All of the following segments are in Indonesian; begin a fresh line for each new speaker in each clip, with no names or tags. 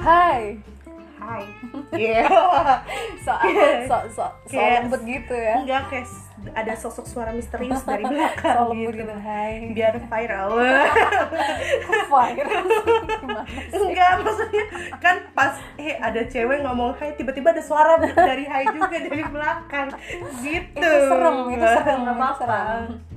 Iya.
soal so, so, so
Kayak-
lembut gitu ya
Enggak kayak s- ada sosok suara misterius dari belakang
so lembut
gitu.
gitu hai
Biar viral.
fire gimana sih
Enggak, maksudnya kan pas eh ada cewek ngomong hai tiba-tiba ada suara dari hai juga dari belakang. Gitu.
Itu serem, itu serem,
Nggak
itu serem.
apa-apa.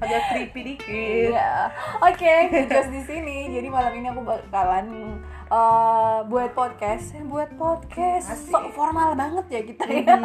Agak creepy dikit.
Iya. Oke, just di sini. Jadi malam ini aku bakalan eh, buat podcast, Eh, buat podcast.
Asik. Mhm.
Sok formal banget ya kita ya.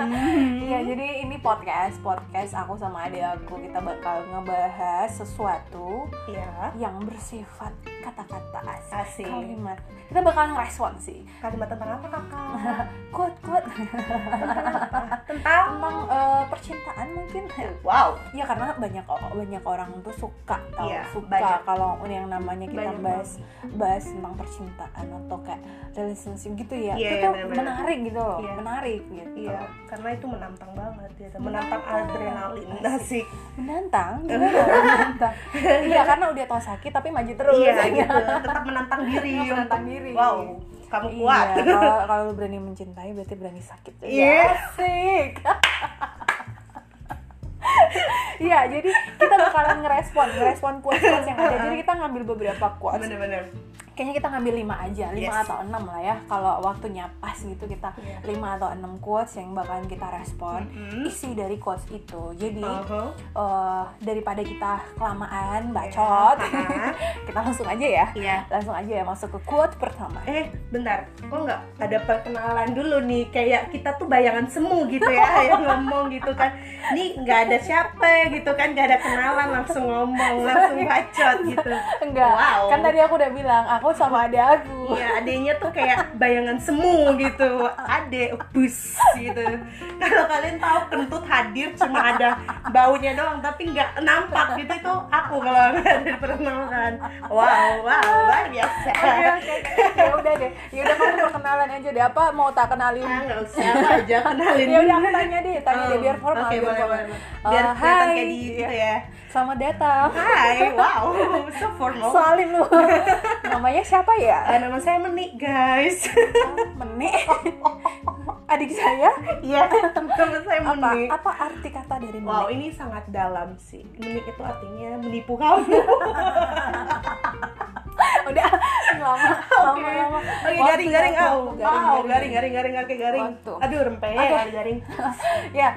Iya, jadi ini podcast, podcast aku sama adik aku kita bakal ngebahas sesuatu
Iya.
yang bersifat kata-kata asik,
Asik.
kalimat. Kita bakal ngerespon sih.
Kalimat tentang apa, Kakak?
Quote-quote
Tentang
tentang eh, percintaan mungkin.
wow.
Iya karena banyak banyak orang tuh suka tahu
Iya,
suka
banyak.
kalau yang namanya kita
Banyak
bahas bahas tentang percintaan atau kayak relationship gitu ya
Iya,
itu
iya,
tuh
benar-benar.
menarik gitu loh
Iya.
menarik gitu
Iya, karena itu menantang banget gitu. Menantang adrenalin. Asik.
menantang gimana menantang iya karena udah tau sakit tapi maju terus
Iya, gitu. Tetap menantang diri.
Tetap menantang
untuk,
diri.
Wow, kamu kuat.
Iya, kalau kalau lu berani mencintai berarti berani sakit.
Iya.
Asik. Iya, jadi kita bakalan ngerespon, ngerespon quotes-quotes yang ada. Jadi kita ngambil beberapa quotes.
Bener-bener.
Kayaknya kita ngambil 5 aja, 5
Yes.
atau 6 lah ya. Kalau waktunya pas gitu kita
Iya.
5 atau 6 quotes yang bakalan kita respon.
Mhm.
Isi dari quotes itu. Jadi
Aha.
eh, daripada kita kelamaan bacot,
Iya.
kita langsung aja ya.
Iya.
Langsung aja ya masuk ke quote pertama.
Eh, bentar. Kok nggak ada perkenalan dulu nih? Kayak kita tuh bayangan semu gitu ya, yang ngomong gitu kan. Nih nggak ada siapa gitu kan, nggak ada kenalan langsung ngomong, langsung bacot gitu.
Enggak,
Wow.
kan tadi aku udah bilang aku sama adik aku.
Iya, adenya tuh kayak bayangan semu gitu. Ade bus gitu. Kalau kalian tahu kentut hadir cuma ada baunya doang tapi nggak nampak gitu itu aku kalau nggak ada perkenalan. Wow, wow, luar biasa.
Oke, oke, oke. ya udah deh, ya udah kamu mau kenalan aja deh. Apa mau tak kenalin?
Ah, nggak usah apa aja kenalin. Oh,
Ya udah aku tanya deh, tanya deh biar formal.
Oke,
biar
boleh,
formal.
boleh. Biar
Eh,
kelihatan
hai.
kayak di gitu ya.
Selamat datang.
Hai, wow, so formal.
Salim lu. Namanya siapa ya?
Ah, nama saya Menik, guys.
Menik. Adik saya?
Iya, nama saya
Apa
Menik.
apa arti kata dari
Wow,
menik?
ini sangat dalam sih. Menik itu artinya menipu kamu.
Udah lama
Oke,
lama lama.
Oke,
Waktu,
garing-garing.
waktu,
Au.
waktu,
Wow, garing-garing, garing, oke, garing.
Waktu.
Aduh, rempeyek,
Oke.
ada garing.
ya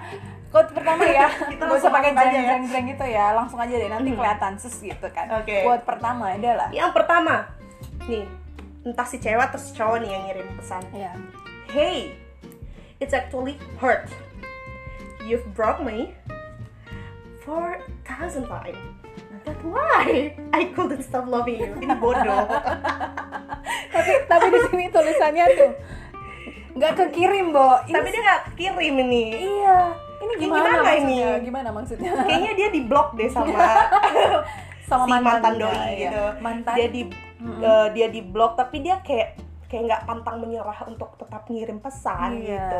quote pertama ya
Kita
gak usah
langsung
pakai
masuk aja ya. Hmm.
jeng jeng gitu ya langsung aja deh nanti kelihatan sus gitu kan
Oke.
quote pertama adalah
Yang pertama, nih, entah si cewek atau si cowok nih yang ngirim pesan.
ya
Hey, it's actually hurt. You've broke me for a thousand times. That's why I couldn't stop loving you. Ini bodoh.
tapi tapi di sini tulisannya tuh nggak kekirim bo Ini
Tapi dia gak kirim ini.
iya ini
Ini
gimana,
gimana ini?
maksudnya gimana maksudnya
Kayaknya dia di blok deh sama
sama
si mantan, doi
dia, ya.
gitu
mantan
dia di eh, dia di blok tapi dia kayak kayak nggak pantang menyerah untuk tetap ngirim pesan
Iya.
gitu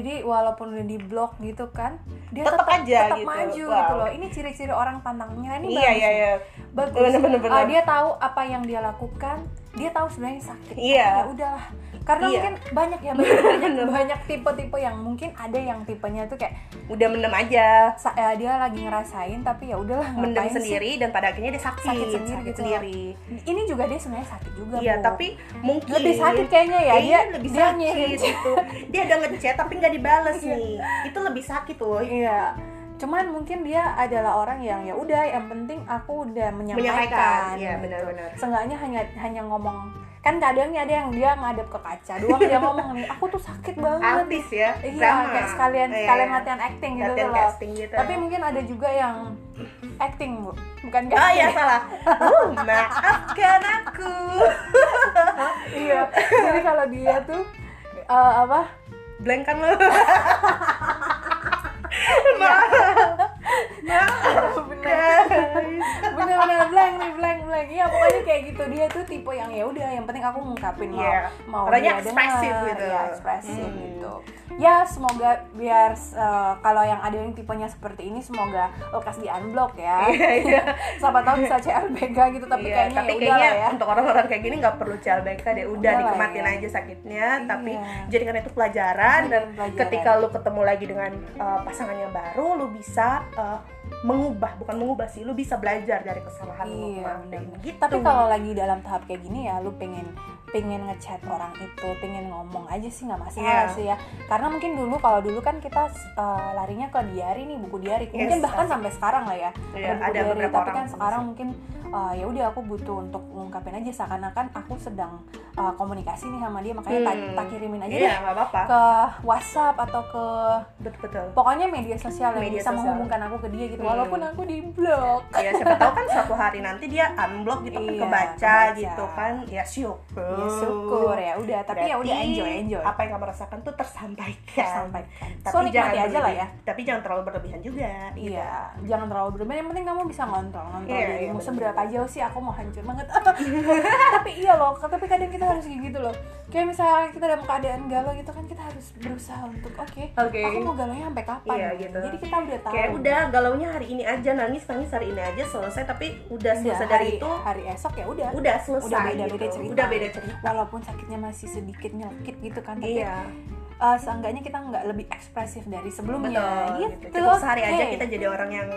jadi walaupun udah di blok gitu kan dia
Tetep aja
tetap
gitu.
maju
Wow.
gitu loh ini ciri-ciri orang pantangnya ini bagus
iya iya
nih.
iya
bagus
Bener, bener, bener.
Ah, dia tahu apa yang dia lakukan dia tahu sebenarnya sakit
Iya.
ya udahlah karena
Iya.
mungkin banyak ya banyak banyak, banyak tipe-tipe yang mungkin ada yang tipenya tuh kayak
udah mendem aja
sa- eh, dia lagi ngerasain tapi ya udahlah
mendem
ngapain sih?
sendiri dan pada akhirnya dia sakit
Sakit sendiri gitu.
sendiri.
ini juga dia sebenarnya sakit juga
iya
Bu.
tapi mungkin
lebih sakit kayaknya ya
Kayaknya
dia
lebih
dia Iya.
sakit
ngirim
gitu dia udah ngechat tapi nggak dibales nih itu lebih sakit loh
Iya. Cuman mungkin dia adalah orang yang ya udah yang penting aku udah menyampaikan.
Menyampaikan, iya,
gitu.
benar-benar.
Seenggaknya hanya hanya ngomong. Kan kadang nih ada yang dia ngadep ke kaca doang dia ngomong nih, aku tuh sakit banget.
artis ya
Iya,
drama.
kayak sekalian
Iya,
sekalian
iya.
latihan acting gitu tuh
Latihan
loh.
casting gitu
Tapi mungkin ada juga yang acting, Bu. Bukan
Oh
casting.
ya salah. Uh, maafkan aku.
iya. Jadi kalau dia tuh eh, apa?
Blank kan lo.
Iya.
Maaf. Maaf.
Bener. Bener-bener blank nih, blank, blank. Iya, iya pokoknya kayak gitu dia tuh tipe yang ya udah yang penting aku ngungkapin mau
Iya.
mau
Orangnya
dia
ekspresif
denger,
gitu.
ya ekspresif
Hmm.
gitu ya semoga biar eh, kalau yang ada yang tipenya seperti ini semoga lekas di unblock ya
Iya, iya.
siapa tahu bisa CLBK gitu tapi
Iya,
kayaknya
tapi
ya udah
kayaknya
lah ya
untuk orang-orang kayak gini nggak perlu CLBK deh, udah,
Udahlah
nikmatin
ya.
aja sakitnya, kan, tapi
Iya.
jadikan itu pelajaran dan
Jadikan pelajaran.
ketika lu ketemu lagi dengan uh, pasangan yang baru, lu bisa uh, mengubah, bukan mengubah sih, lu bisa belajar dari kesalahan lu
Iya,
kemarin.
bener.
gitu.
Tapi kalau lagi dalam tahap kayak gini ya, lu pengen pengen ngechat orang itu, pengen ngomong aja sih nggak masalah
Iya.
sih ya. Karena mungkin dulu kalau dulu kan kita eh, larinya ke diary nih, buku diary. Mungkin
Yes,
bahkan
pasti.
sampai sekarang lah ya.
Iya,
buku
ada
diary.
beberapa
Tapi
orang
kan
sih.
sekarang mungkin eh, ya udah aku butuh untuk ngungkapin aja seakan-akan aku sedang eh, komunikasi nih sama dia, makanya tak
Hmm.
tak kirimin aja
iya
deh
nggak apa-apa,
ke WhatsApp atau ke
betul-betul.
pokoknya media sosial yang
Media
bisa
sosial.
menghubungkan aku ke dia gitu
Hmm.
walaupun aku di blok
Ya siapa tahu kan suatu hari nanti dia unblock gitu kan
Iya,
kebaca,
kebaca.
gitu kan, ya syukur.
ya syukur ya udah tapi ya udah
Berarti
enjoy enjoy
Apa yang kamu rasakan tuh tersampaikan.
sampaikan
Tapi
so nikmati
jangan
aja lah ya
berlebihan- Tapi jangan terlalu berlebihan juga. gitu.
Iya, jangan terlalu berlebihan. Yang penting kamu bisa ngontrol, ngontrol
Iya,
dirimu.
iya,
Seberapa jauh sih aku mau hancur banget. tapi iya loh, tapi kadang kita harus kayak gitu loh. Kayak misalnya kita dalam keadaan galau gitu kan, kita harus berusaha untuk oke,
Oke.
aku mau galau sampai kapan?
Iya,
nih?
gitu.
Jadi kita udah tahu.
Kayak udah galaunya hari ini aja nangis nangis hari ini aja selesai tapi udah
Udah,
selesai
hari-
dari itu
hari esok ya udah.
Iya, udah selesai
Udah beda-beda
gitu.
cerita.
Udah beda cerita.
Walaupun sakitnya masih sedikit nyelkit gitu kan, tapi
Iya.
eh, seenggaknya kita nggak lebih ekspresif dari sebelumnya
Betul.
gitu.
Gitu. Cukup sehari aja
Oke.
kita jadi orang yang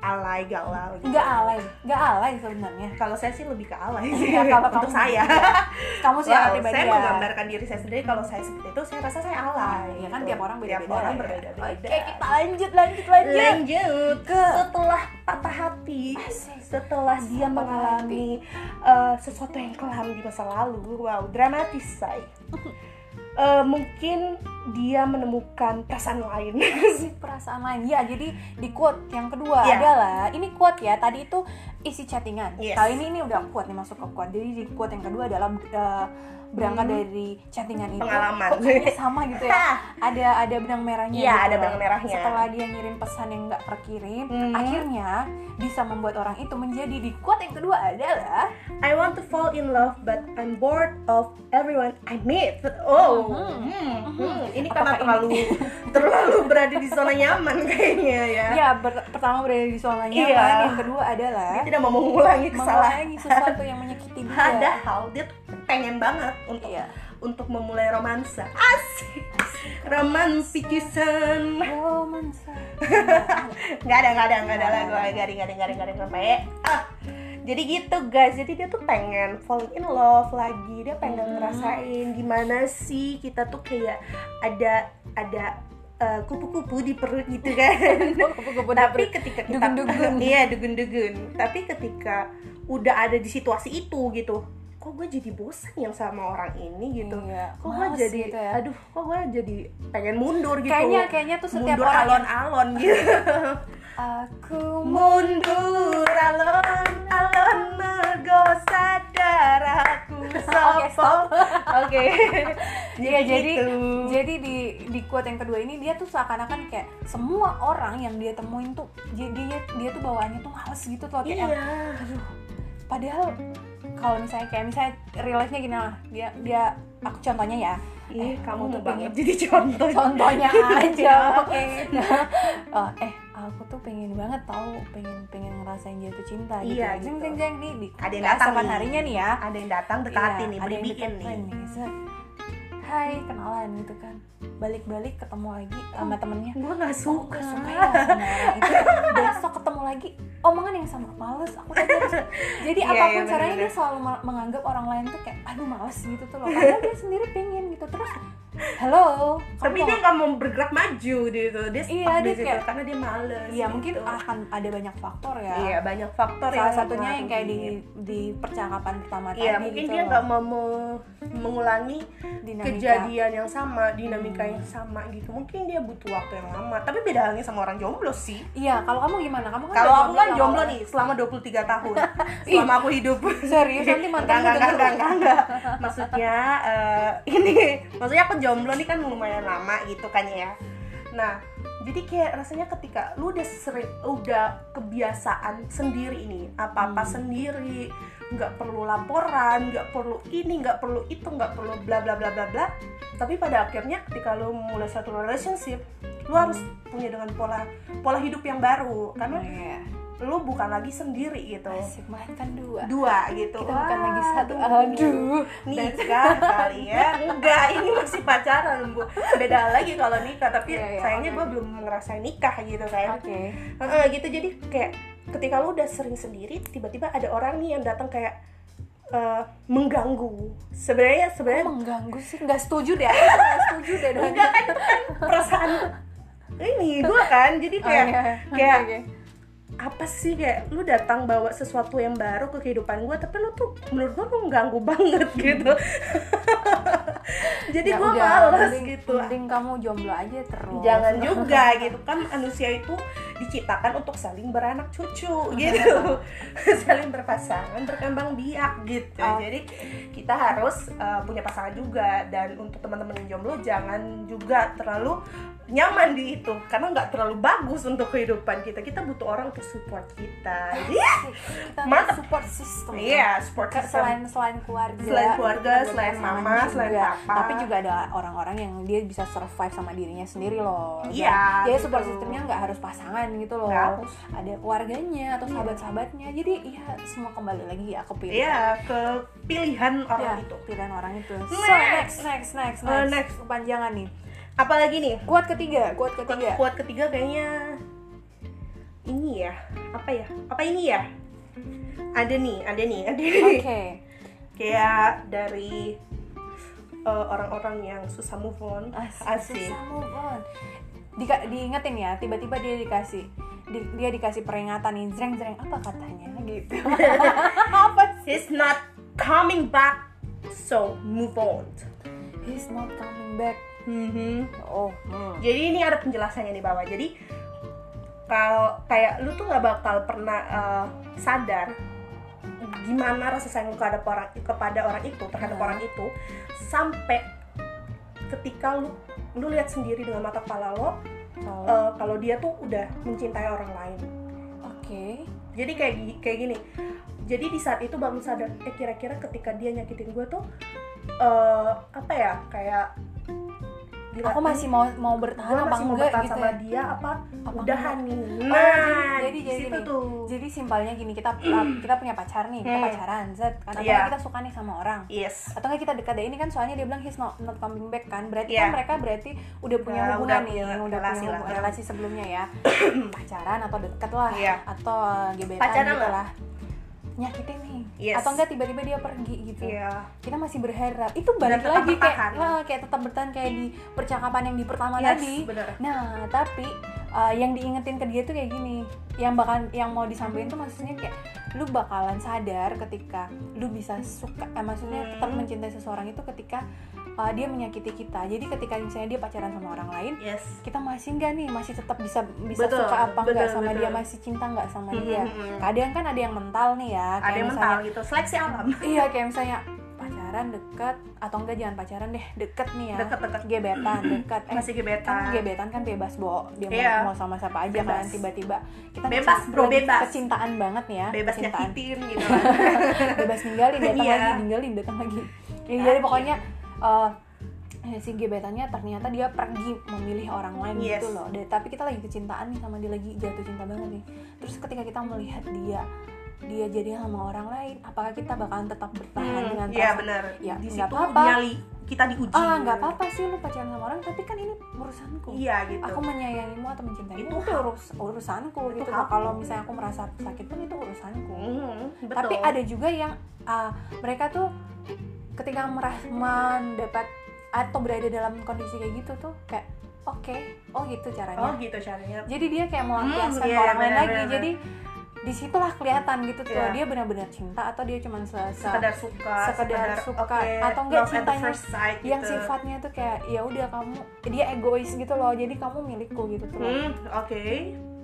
alay galau gitu.
nggak alay nggak alay sebenarnya
Kalau saya sih lebih ke alay sih.
Iya, kalau
Untuk
kamu-
saya.
kamu sih
Wow,
pribadi
saya
ya.
menggambarkan diri saya sendiri kalau saya seperti itu saya rasa saya alay.
ya kan
gitu.
tiap orang beda-beda
Tiap orang
ya.
berbeda-beda.
oke kita lanjut lanjut lanjut
lanjut
Ke-
setelah patah hati
Asik.
setelah dia
Patah
mengalami eh, sesuatu yang kelam di masa lalu wow dramatis say Eh, mungkin dia menemukan perasaan lain
Asik perasaan lain ya jadi di quote yang kedua
Iya.
adalah ini quote ya tadi itu isi chattingan
Yes.
kali ini ini udah quote nih masuk ke quote jadi di quote yang kedua adalah eh, berangkat
Hmm.
dari chattingan itu
Pengalaman.
Kok kayaknya sama gitu ya ada ada benang merahnya
Iya,
gitu
ada
loh.
benang merahnya.
setelah dia ngirim pesan yang nggak terkirim
Hmm.
akhirnya bisa membuat orang itu menjadi di quote yang kedua adalah
I want to fall in love but I'm bored of everyone I meet oh
Mhm.
hmm, hmm. ini karena
Apakah
terlalu terlalu berada di zona nyaman kayaknya ya
Ya, ber- pertama berada di zona nyaman,
Iya.
yang kedua adalah
dia tidak mau mengulangi kesalahan
mengulangi sesuatu yang menyakiti dia.
padahal dia tuh pengen banget untuk
Iya.
untuk memulai romansa asik roman picisan
Romansa.
nggak ada nggak ada nggak ada lah gue garing garing garing garing sampai ah jadi gitu guys jadi dia tuh pengen falling in love lagi dia pengen
Hmm.
ngerasain gimana sih kita tuh kayak ada ada eh, kupu-kupu di perut gitu kan
Kupu-kupu
tapi
dapur.
ketika kita
Dugun-dugun.
iya dugun-dugun tapi ketika udah ada di situasi itu gitu kok gue jadi bosan yang sama orang ini gitu
Iya,
kok gue
males
jadi
gitu ya.
aduh kok gue jadi pengen mundur gitu
Kayaknya kayaknya tuh setiap
mundur
orang yang-
alon-alon gitu
aku
Iya, mundur alon-alon mergosa darahku
Oke, stop.
sopo oke
Iya, jadi
gitu.
jadi di di quote yang kedua ini dia tuh seakan-akan kayak semua orang yang dia temuin tuh jadi dia, dia tuh bawaannya tuh males gitu tuh kayak
iya
padahal kalau misalnya kayak misalnya real life-nya gini lah dia dia aku contohnya ya
Ih, kamu
aku
tuh
tuh
banget Eh, jadi contoh
contohnya aja
Iya.
oke Oh, eh aku tuh pengen banget tahu pengen pengen ngerasain jatuh cinta gitu
Iya,
jeng
gitu.
jeng jeng nih di
Ada yang datang
keesokan
nih.
harinya nih ya
ada yang datang dekati
Iya,
nih
ada yang
beribikin nih
deketin Set. hai kenalan gitu kan balik balik ketemu lagi sama temennya
gue gak
Oh,
suka
gak suka ya sama orang itu besok ketemu lagi omongan yang sama males aku tadi harus jadi
Iya,
apapun
iya,
caranya
bener-bener.
dia selalu ma- menganggap orang lain tuh kayak aduh males gitu tuh loh padahal dia sendiri pengen gitu terus halo kamu
tapi
mau
dia nggak mau bergerak maju gitu dia stuck
Iya,
di
dia
situ
kayak-
karena dia males
Iya
gitu.
mungkin akan ada banyak faktor ya.
iya banyak faktor
Salah satunya yang kayak di
mempengaruhi.
di percakapan pertama tadi.
Iya, mungkin
gitu
dia
loh.
nggak mau mau- mengulangi
Dinamika.
kejadian yang sama, dinamika yang sama gitu. Mungkin dia butuh waktu yang lama. Tapi beda halnya sama orang jomblo sih.
Iya, kalau kamu gimana? Kamu kan
Kalau
udah
aku kan
lama
jomblo
banget.
nih selama 23 tahun. selama aku hidup.
Serius nanti Iya, mantan
Enggak, enggak,
denger.
enggak, enggak, enggak. Maksudnya eh, ini maksudnya aku jomblo nih kan lumayan lama gitu kan ya. Nah, jadi kayak rasanya ketika lu udah sering udah kebiasaan sendiri ini apa apa
Hmm.
sendiri nggak perlu laporan nggak perlu ini nggak perlu itu nggak perlu bla bla bla bla bla tapi pada akhirnya ketika lu mulai satu relationship lu harus punya dengan pola pola hidup yang baru karena
Iya.
lu bukan lagi sendiri gitu
Asik mantan dua.
dua gitu
Kita bukan
Wah,
lagi satu.
aduh.
Aduh. Dan-
nikah kali ya enggak ini masih pacaran bu beda lagi kalau nikah tapi
Iya, iya,
sayangnya
oke.
gue belum ngerasain nikah gitu kan
Oke.
Heeh, gitu jadi kayak ketika lu udah sering sendiri tiba-tiba ada orang nih yang datang kayak eh, mengganggu sebenarnya
Kok
sebenarnya
mengganggu sih? Nggak setuju deh. aku Nggak setuju deh. dengan
enggak
itu.
kan itu kan perasaan ini gue kan jadi
Oh,
kayak
iya.
kayak
Oke, oke.
apa sih kayak lu datang bawa sesuatu yang baru ke kehidupan gue tapi lu tuh menurut gue lu mengganggu banget gitu jadi
Hmm. Ya
gue
udah,
males
mending-
gitu
Mending kamu jomblo aja terus.
jangan juga gitu kan manusia itu diciptakan untuk saling beranak cucu gitu saling berpasangan berkembang biak gitu
Oke.
jadi kita harus uh, punya pasangan juga dan untuk teman-teman yang jomblo jangan juga terlalu nyaman di itu karena nggak terlalu bagus untuk kehidupan kita kita butuh orang untuk support kita Iya,
Kita
Mantap.
support system.
iya support
Kan
system
selain selain keluarga
Selain keluarga,
kita butuh
selain
pasangan
mama, selain papa.
tapi juga ada orang-orang yang dia bisa survive sama dirinya sendiri loh
Iya,
jadi
gitu.
support sistemnya nggak harus pasangan gitu loh
Nggak harus.
ada keluarganya atau sahabat-sahabatnya jadi ya semua kembali lagi ya ke pilihan
iya kepilihan
Ya,
orang itu
pilihan orang itu so
Next.
next next next next,
Eh, next.
kepanjangan nih
apalagi nih
kuat ketiga kuat ketiga
kuat ketiga kayaknya ini ya apa ya apa ini ya ada nih ada nih ada nih
oke
kayak dari eh, orang-orang yang susah move on asik
Ah, Susah move on. Dika- diingetin ya, tiba-tiba dia dikasih di- dia dikasih peringatan nih, jreng jreng apa katanya gitu. apa sih?
he's not coming back so move on
He's not coming back.
Mhm.
Oh, hmm.
jadi ini ada penjelasannya di bawah jadi kalau kayak lu tuh nggak bakal pernah eh, sadar gimana rasa sayang lu kepada orang kepada orang itu terhadap
Hmm.
orang itu sampai ketika lu lu lihat sendiri dengan mata kepala lo
Kalau-
eh, kalau dia tuh udah mencintai orang lain
Oke.
jadi kayak gi- kayak gini jadi di saat itu baru sadar eh kira-kira ketika dia nyakitin gue tuh eh, apa ya kayak gila,
Aku masih mau mau bertahan
gue
apa
masih mau
enggak
bertahan
gitu.
sama
ya?
dia apa
Apa
udahan
enggak?
nih
Oh, jadi- jadi-
Oh, di
jadi
situ
gini.
tuh
Jadi simpelnya gini, kita kita punya pacar nih, kita
Hmm.
pacaran, set. Atau
Iya.
kita suka nih sama orang.
yes
atau nggak kita dekat deh ini kan soalnya dia bilang he's not, not coming back kan berarti
Iya.
kan mereka berarti udah punya
Ya,
hubungan
udah
nih
punya
udah
relasi
punya
lah.
hubungan relasi sebelumnya ya pacaran atau deket lah
Iya.
atau gebetan
Pacaran
gitu
lah.
lah nyakitin nih
Yes.
atau enggak tiba-tiba dia pergi gitu
iya
kita masih berharap itu balik
tetap
lagi kayak
bertahan.
ah, kayak tetap bertahan kayak di percakapan yang di pertama
Yes,
tadi
bener.
nah tapi uh, yang diingetin ke dia tuh kayak gini yang bakal yang mau disampaikan tuh maksudnya kayak lu bakalan sadar ketika lu bisa suka eh, maksudnya
Hmm.
tetap mencintai seseorang itu ketika uh, dia menyakiti kita jadi ketika misalnya dia pacaran sama orang lain
yes
kita masih enggak nih masih tetap bisa bisa
Betul,
suka apa enggak
betul,
sama
betul.
dia masih cinta enggak sama dia
Mhm.
kadang kan ada yang mental nih ya
ada
kayak
yang
misalnya
mental gitu seleksi alam
iya kayak misalnya pacaran dekat atau enggak jangan pacaran deh deket nih ya
Deket, deket.
gebetan dekat eh
masih
kan
gebetan
gebetan kan bebas bo dia mau-
Iya.
mau, sama siapa aja kan
Bebas.
tiba-tiba kita
Bebas,
masih-
bro,
lagi
bebas.
kecintaan banget nih ya
bebas
kecintaan
nyakitin gitu kan.
bebas ninggalin datang
Iya.
lagi ninggalin datang lagi Ya, jadi pokoknya eh, si gebetannya ternyata dia pergi memilih orang lain
Yes.
gitu loh Dan- tapi kita lagi kecintaan nih sama dia lagi jatuh cinta banget nih terus ketika kita melihat dia dia jadi sama orang lain apakah kita bakalan tetap bertahan
Hmm,
dengan
iya
perasaan-
benar
Ya,
di
nggak
situ
apa-apa.
nyali kita diuji
ah nggak apa-apa sih lu pacaran sama orang tapi kan ini urusanku
iya gitu
aku menyayangimu atau mencintaimu
Itu
itu, urus urusanku
Itu
gitu
hak.
kalau misalnya aku merasa sakit pun itu urusanku
Mhm, betul.
tapi ada juga yang uh, mereka tuh ketika merasa mendapat atau berada dalam kondisi kayak gitu tuh kayak oke oh gitu
oh
caranya
gitu caranya
jadi dia kayak melampiaskan
iya,
ke orang lain
benar,
lagi
benar.
jadi disitulah kelihatan gitu tuh
Iya.
dia benar-benar cinta atau dia cuma se se-
sekedar suka
sekedar suka.
oke,
Atau enggak
love at the
cintanya
first sight gitu.
yang sifatnya tuh kayak ya udah kamu dia egois gitu loh jadi kamu milikku gitu tuh
hmm Mm, oke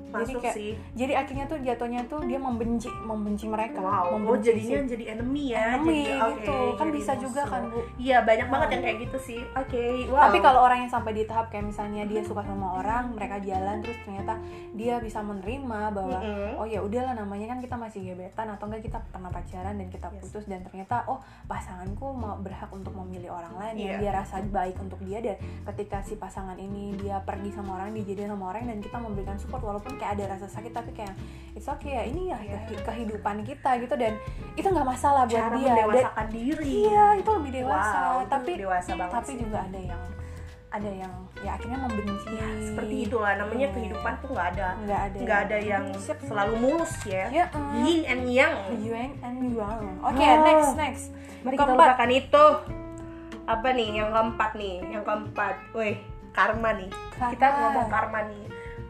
jadi
masuk
kayak
sih
jadi akhirnya tuh jatuhnya tuh dia membenci membenci mereka
wow oh
membenci
jadinya
si
jadi enemy ya
enemy
jadi, oke,
gitu kan
jadi
bisa juga
musuh.
kan bu
iya banyak banget
Hmm.
yang kayak gitu sih oke wow
Tapi kalau orang yang sampai di tahap kayak misalnya dia suka sama orang, mereka jalan terus ternyata dia bisa menerima bahwa
Mm-mm.
oh ya udahlah namanya kan kita masih gebetan atau enggak kita pernah pacaran dan kita
Yes.
putus dan ternyata oh pasanganku mau berhak untuk memilih orang lain yang
Iya.
dia rasa baik untuk dia dan ketika si pasangan ini dia pergi sama orang dijadiin sama orang dan kita memberikan support walaupun kayak ada rasa sakit tapi kayak it's okay ya ini ya
Iya.
kehi- kehidupan kita gitu dan itu nggak masalah buat
cara
dia dan
mendewasakan diri
iya itu lebih dewasa
wow itu
tapi
dewasa banget
tapi
sih.
juga ada yang ada yang ya akhirnya membenci
ya, seperti itulah namanya
Iya.
kehidupan tuh nggak ada
nggak ada
nggak ada yang
Siap.
selalu mulus ya
ya eh.
yin and yang
Yuan and Yuang oke
Wow.
next next
mari kita
Keempat.
lupakan itu apa nih yang keempat nih yang keempat woi karma nih kita
Karma.
ngomong karma nih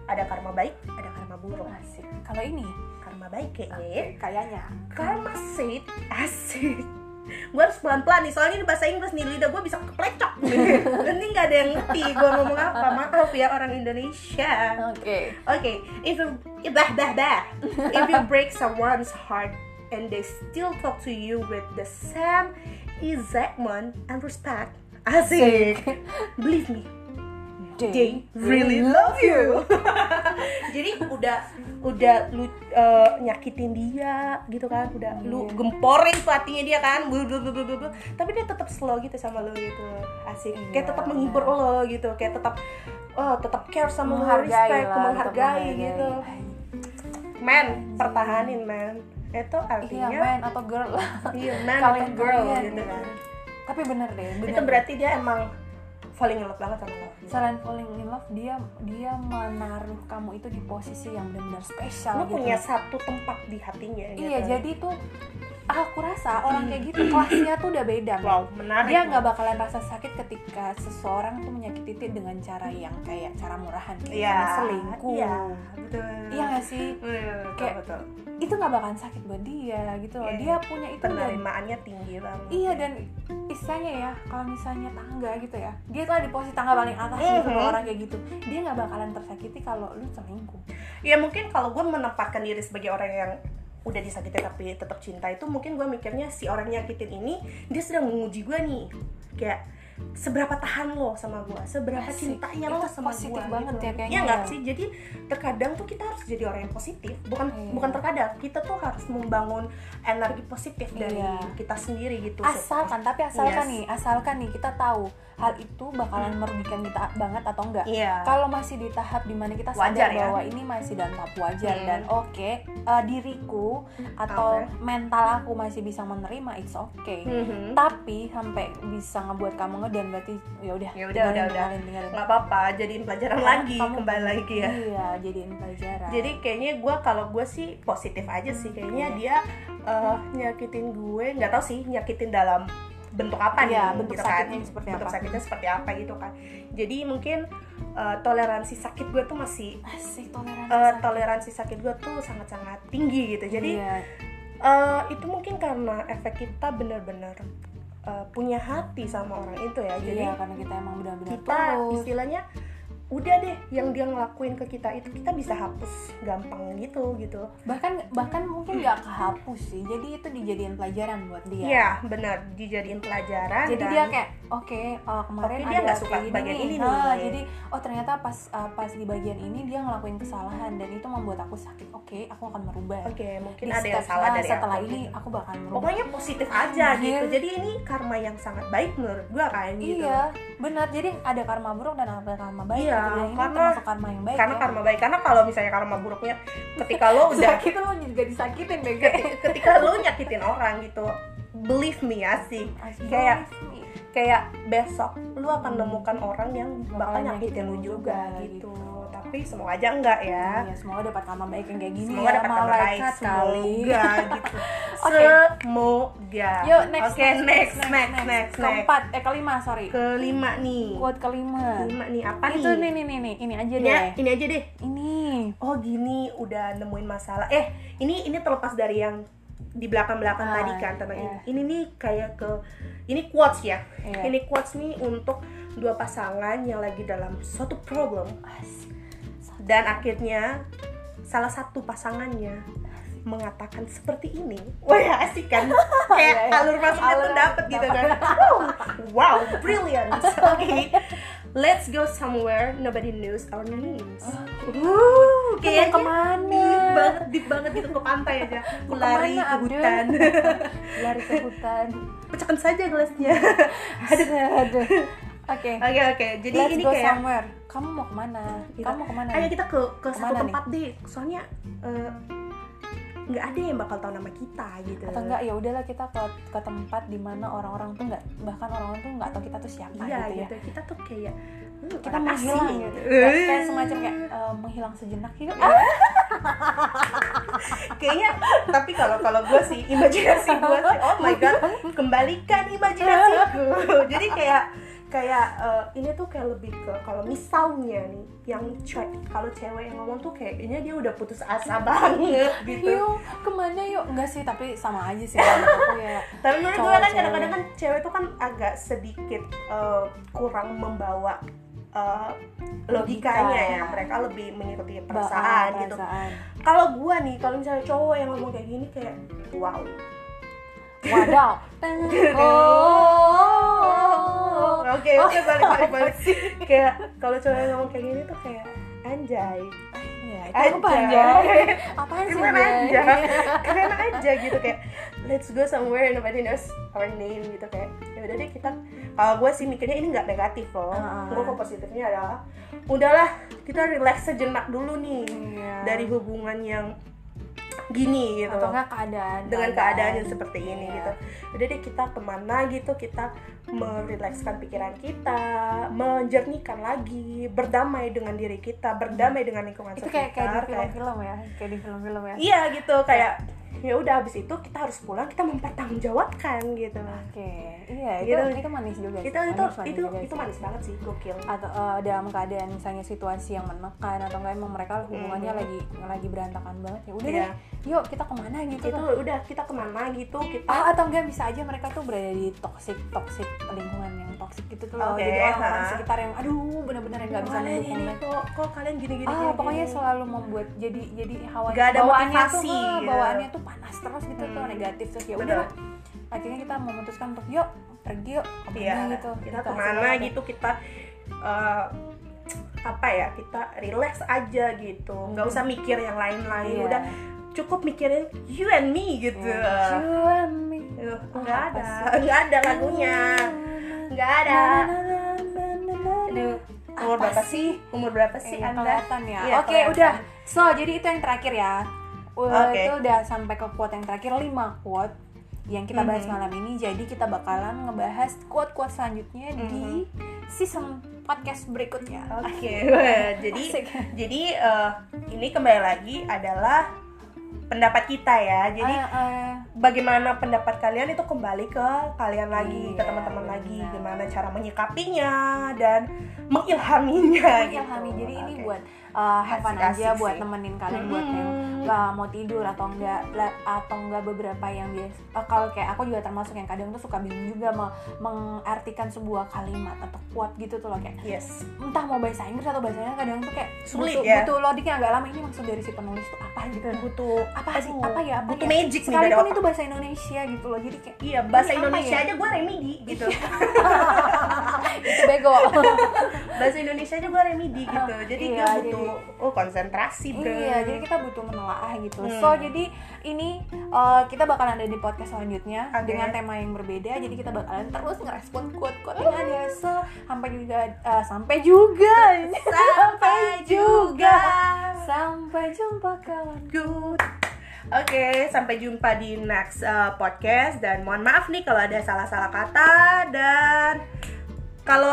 ada karma baik ada karma buruk
Asik. kalau ini
karma baik kayaknya ya.
kayaknya
karma seed asik gue harus pelan-pelan nih soalnya ini bahasa Inggris nih lidah gue bisa keplecok nanti nggak ada yang ngerti gue ngomong apa maaf ya orang Indonesia
oke
Okay, if you eh, bah bah bah, if you break someone's heart and they still talk to you with the same excitement and respect, asik. Believe me, they really love you. Jadi udah udah lu eh, nyakitin dia gitu kan, udah lu
Iya.
gemporin tuh hatinya dia kan, blu, blu, blu, blu, blu, blu. tapi dia tetap slow gitu sama lu gitu, asik.
Iya.
Kayak tetap menghibur lo gitu, kayak tetap oh, tetap care sama lu,
menghargai
respect,
lah,
menghargai
tetap
gitu.
menghargai.
Men, pertahanin men. Itu
iya
artinya
man atau girl lah
iya, man
Kalian
atau girl
kalian.
gitu kan.
tapi bener deh bener
Itu berarti dia emang falling in love banget sama lo.
selain falling in love dia dia menaruh kamu itu di posisi yang benar-benar spesial
Lu
gitu.
punya satu tempat di hatinya gitu. Hmm.
Iya, jadi tuh aku rasa orang kayak gitu kelasnya tuh udah beda. men.
Wow, menarik.
Dia nggak bakalan rasa sakit ketika seseorang tuh menyakiti dia dengan cara yang kayak cara murahan kayak
Iya,
misalnya selingkuh.
Iya, betul.
Iya nggak sih?
Iya, betul,
Kayak
betul.
Itu nggak bakalan sakit buat dia gitu loh.
Iya.
Dia punya itu dan
penerimaannya tinggi banget.
Iya dan istilahnya ya kalau misalnya tangga gitu ya dia tuh ada di posisi tangga paling atas gitu loh
Mhm.
orang kayak gitu dia nggak bakalan tersakiti kalau lu selingkuh
Ya mungkin kalau gue menempatkan diri sebagai orang yang udah disakiti tapi tetap cinta itu mungkin gue mikirnya si orang nyakitin ini dia sedang menguji gue nih kayak seberapa tahan lo sama gue seberapa
Asik.
cintanya
Itu
lo sama
positif
gua,
banget
gitu.
ya kayaknya
Iya nggak
ya.
sih jadi terkadang tuh kita harus jadi orang yang positif bukan
Iya.
bukan terkadang kita tuh harus membangun energi positif dari
Iya.
kita sendiri gitu
asalkan tapi asalkan
Yes.
nih asalkan nih kita tahu hal itu bakalan merugikan kita banget atau enggak
iya
kalau masih di tahap dimana kita
Wajar
sadar
ya?
bahwa ini masih dalam tahap wajar
Hmm.
dan oke eh, diriku atau
Oke.
mental aku masih bisa menerima it's okay
Mhm.
tapi sampai bisa ngebuat kamu ngedan berarti ya udah tinggalin,
Ya udah, udah, udah.
tinggalin, tinggalin.
nggak apa-apa jadiin pelajaran
Karena
lagi
Iya, kamu-
kembali lagi ya
iya jadiin pelajaran
jadi kayaknya gue kalau gue sih positif aja sih kayaknya
Mm-hmm.
dia eh, nyakitin gue nggak tahu sih nyakitin dalam bentuk apa nih
Iya, bentuk
kan.
sakitnya seperti
bentuk
apa.
sakitnya seperti apa gitu kan jadi mungkin eh, toleransi sakit gue tuh masih
asik toleransi
eh,
sakit.
toleransi sakit gue tuh sangat-sangat tinggi gitu jadi
Iya.
eh, itu mungkin karena efek kita bener-bener eh, punya hati sama orang itu ya jadi
iya karena kita emang benar-benar
Nah, kita
tulus
istilahnya udah deh yang dia ngelakuin ke kita itu kita bisa hapus gampang gitu gitu
bahkan bahkan mungkin nggak kehapus sih jadi itu dijadiin pelajaran buat dia
Iya, benar dijadiin pelajaran
jadi
dan
dia kayak oke eh, kemarin
Oke, Kan dia
ada
nggak suka
kayak
bagian ini nih.
Ah, jadi oh ternyata pas eh, pas di bagian ini dia ngelakuin kesalahan dan itu membuat aku sakit oke aku akan merubah
oke mungkin
Di
ada yang
step- ah,
salah dari
setelah
aku. gitu.
ini Iya. aku bakal merubah
pokoknya positif aja
Anjir.
gitu jadi ini karma yang sangat baik menurut gua kan gitu
iya benar jadi ada karma buruk dan ada karma baik
Iya,
gitu. Dan ini
karena-
termasuk karma yang baik
karena
ya.
karma baik karena kalau misalnya karma buruknya ketika lo udah
sakit lo juga disakitin deh
ketika lo nyakitin orang gitu believe me ya sih Kayak- kayak besok lu
Hmm.
akan nemukan orang yang bakal nyakitin lu juga gitu tapi semoga aja enggak ya
ya semoga dapat karma baik yang kayak gini
semoga
ya
dapat kabar baik
malaikat kali
semoga gitu
Oke.
semoga
Yuk next,
oke next next next next,
keempat eh kelima sorry
kelima nih
quote kelima
kelima nih apa
Kan itu
nih
nih nih nih nih ini aja deh
Ya, ini aja deh
ini
oh gini udah nemuin masalah eh ini ini terlepas dari yang di belakang belakang
Ah,
tadi kan tentang
iya.
ini ini nih kayak ke ini quotes ya
Iya.
ini quotes nih untuk dua pasangan yang lagi dalam suatu problem
As-
dan akhirnya salah satu pasangannya mengatakan seperti ini, wah ya, asik kan, kayak
Iya, iya.
alur masuknya
Alur
tuh dapet
masuk
gitu kan,
dapet.
wow, brilliant, oke, let's go somewhere nobody knows our names, uh,
Kayak
kayaknya
kemana?
deep banget, deep banget gitu ke pantai aja, aku
Mau
lari
Nah. kemana,
ke
Abdul?
hutan,
Lari ke hutan.
pecahkan saja gelasnya,
Aduh, aduh. Oke.
oke oke, jadi
Let's
ini
go
kayak
somewhere. Kamu mau kemana?
Gitu.
Kamu mau kemana?
ayo kita ke ke satu
Kemana nih?
tempat deh soalnya eh, nggak ada yang bakal tahu nama kita gitu
atau enggak ya udahlah kita ke ke tempat dimana orang-orang tuh nggak bahkan orang-orang tuh nggak tahu kita tuh siapa
iya
gitu
gitu,
ya
kita tuh kayak "Lu
kita
orang asing."
menghilang gitu
Eh, Iya,
kayak, kayak semacam kayak eh, menghilang sejenak gitu
kayaknya tapi kalau kalau gue sih imajinasi gue sih oh my god kembalikan imajinasiku jadi kayak kayak eh, ini tuh kayak lebih ke kalau misalnya nih yang cewek kalau cewek yang ngomong tuh kayaknya dia udah putus asa banget gitu
yuk kemana yuk enggak sih tapi sama aja sih menurut aku ya
tapi menurut gue
Cowok,
kan
cewek.
kadang-kadang kan cewek tuh kan agak sedikit eh, kurang membawa eh, logikanya
Logika.
ya mereka lebih mengikuti
Ba- ah,
perasaan gitu
perasaan.
kalau gue nih kalau misalnya cowok yang ngomong kayak gini kayak wow
wadaw Teng. oh
oke oke balik balik balik kayak kalau cowok yang ngomong kayak gini tuh kayak anjay
ya itu apa anjay apaan sih
keren
anjay?
aja keren aja gitu kayak let's go somewhere nobody knows our name gitu kayak ya udah deh kita kalau gue sih mikirnya ini nggak negatif loh
Ah.
gue kok positifnya adalah udahlah kita relax sejenak dulu nih
Iya.
dari hubungan yang gini gitu
atau enggak keadaan
dengan keadaan yang seperti ini
Iya.
gitu udah deh kita kemana gitu kita merilekskan pikiran kita menjernihkan lagi berdamai dengan diri kita berdamai dengan lingkungan
itu kayak kayak
sekitar
di film-film ya kayak di film-film ya
iya gitu kayak ya udah habis itu kita harus pulang kita mempertanggungjawabkan gitu
Oke, iya itu
Gitu.
itu manis juga. sih, manis-manis
itu itu itu
juga
itu
sih.
manis banget sih gokil
atau eh, dalam keadaan misalnya situasi yang menekan atau enggak emang mereka hubungannya
Mhm.
lagi lagi berantakan banget ya udah
Iya.
deh yuk kita kemana gitu
itu
tuh
udah kita kemana gitu kita
Ah, atau enggak bisa aja mereka tuh berada di toxic toxic lingkungan yang toxic gitu tuh loh
Oke,
jadi orang-orang
ha.
sekitar yang aduh bener-bener yang nggak bisa
kalian
mendukung
ini
ya.
kok kok kalian gini gini,
ah
gini,
pokoknya
gini.
selalu membuat jadi jadi hawa
Nggak ada
bawaannya
motivasi,
tuh eh,
gitu.
bawaannya tuh panas terus gitu tuh
Hmm.
negatif terus ya
Bener.
udah akhirnya kita memutuskan untuk yuk pergi yuk kemana
Iya,
gitu
kita
Gitu,
kemana
hasilnya.
gitu kita eh, apa ya kita relax aja gitu nggak usah mikir yang lain-lain
Hmm. Iya.
udah cukup mikirin you and me gitu
Iya. You and me.
Yuh, nggak
Apa
ada
sih? Hmm. Nah,
nggak ada lagunya nggak ada Aduh, umur
Apa
berapa
sih?
sih umur berapa
Sih
sih anda
kelihatan ya.
Iya,
Oke,
kelihatan.
udah. So, jadi itu yang terakhir ya. Wah,
Oke.
Itu udah sampai ke quote yang terakhir 5 quote yang kita bahas
Mhm.
malam ini. Jadi kita bakalan ngebahas quote-quote selanjutnya di season podcast berikutnya.
Mhm. oke wah, jadi
Asik.
jadi eh, ini kembali lagi adalah pendapat kita ya jadi
Ah, ah.
bagaimana pendapat kalian itu kembali ke kalian lagi ke
Iya,
teman-teman lagi
benar.
gimana cara menyikapinya dan mengilhaminya gitu.
Ilhami. Jadi ini
Oke.
buat uh, have fun
Asik-asik
aja buat
sih.
nemenin kalian buat yang
Hmm.
nggak mau tidur atau enggak atau enggak beberapa yang biasa eh, kalau kayak aku juga termasuk yang kadang tuh suka bingung juga me- mengartikan sebuah kalimat atau quote gitu tuh loh kayak
yes
entah mau bahasa Inggris atau bahasanya kadang tuh kayak
Sulit
butuh,
ya?
butuh loading yang agak lama ini maksud dari si penulis tuh apa gitu
butuh
apa sih
aduh,
apa ya apa
butuh
ya?
magic nih dari
sekalipun
otak.
itu bahasa Indonesia gitu loh jadi kayak
iya bahasa
Ini apa
Indonesia
ya? Iya.
aja gue remedi gitu
itu bego
bahasa Indonesia aja gue remedi gitu jadi
Iya,
dia butuh oh konsentrasi bro
Iya, jadi kita butuh menelaah gitu.
Hmm.
So, jadi ini uh, kita bakalan ada di podcast selanjutnya
Oke.
dengan tema yang berbeda. Jadi kita bakalan terus ngerespon quote-quote yang ada. So, sampai juga uh, sampai juga.
sampai juga
sampai jumpa kawan.
good Oke, sampai jumpa di next uh, podcast dan mohon maaf nih kalau ada salah-salah kata dan kalau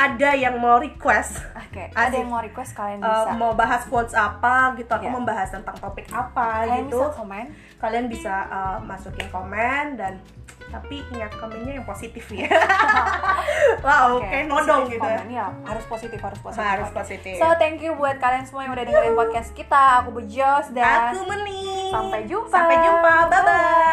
ada yang mau request
Oke, ada
Asik.
yang Eh, mau request kalian
uh,
bisa.
mau bahas quotes apa gitu, aku
Iya.
membahas tentang topik apa
kalian
gitu,
bisa komen.
kalian bisa uh, masukin komen dan tapi ingat komennya yang positif ya. wow,
Oke,
kayak nodong
positif
gitu.
komen. Ya, harus positif, harus positif.
Harus
Oke.
positif.
So, thank you buat kalian semua yang udah dengerin podcast kita. Aku Bejos dan
Aku meni.
sampai jumpa.
Sampai jumpa. Bye bye.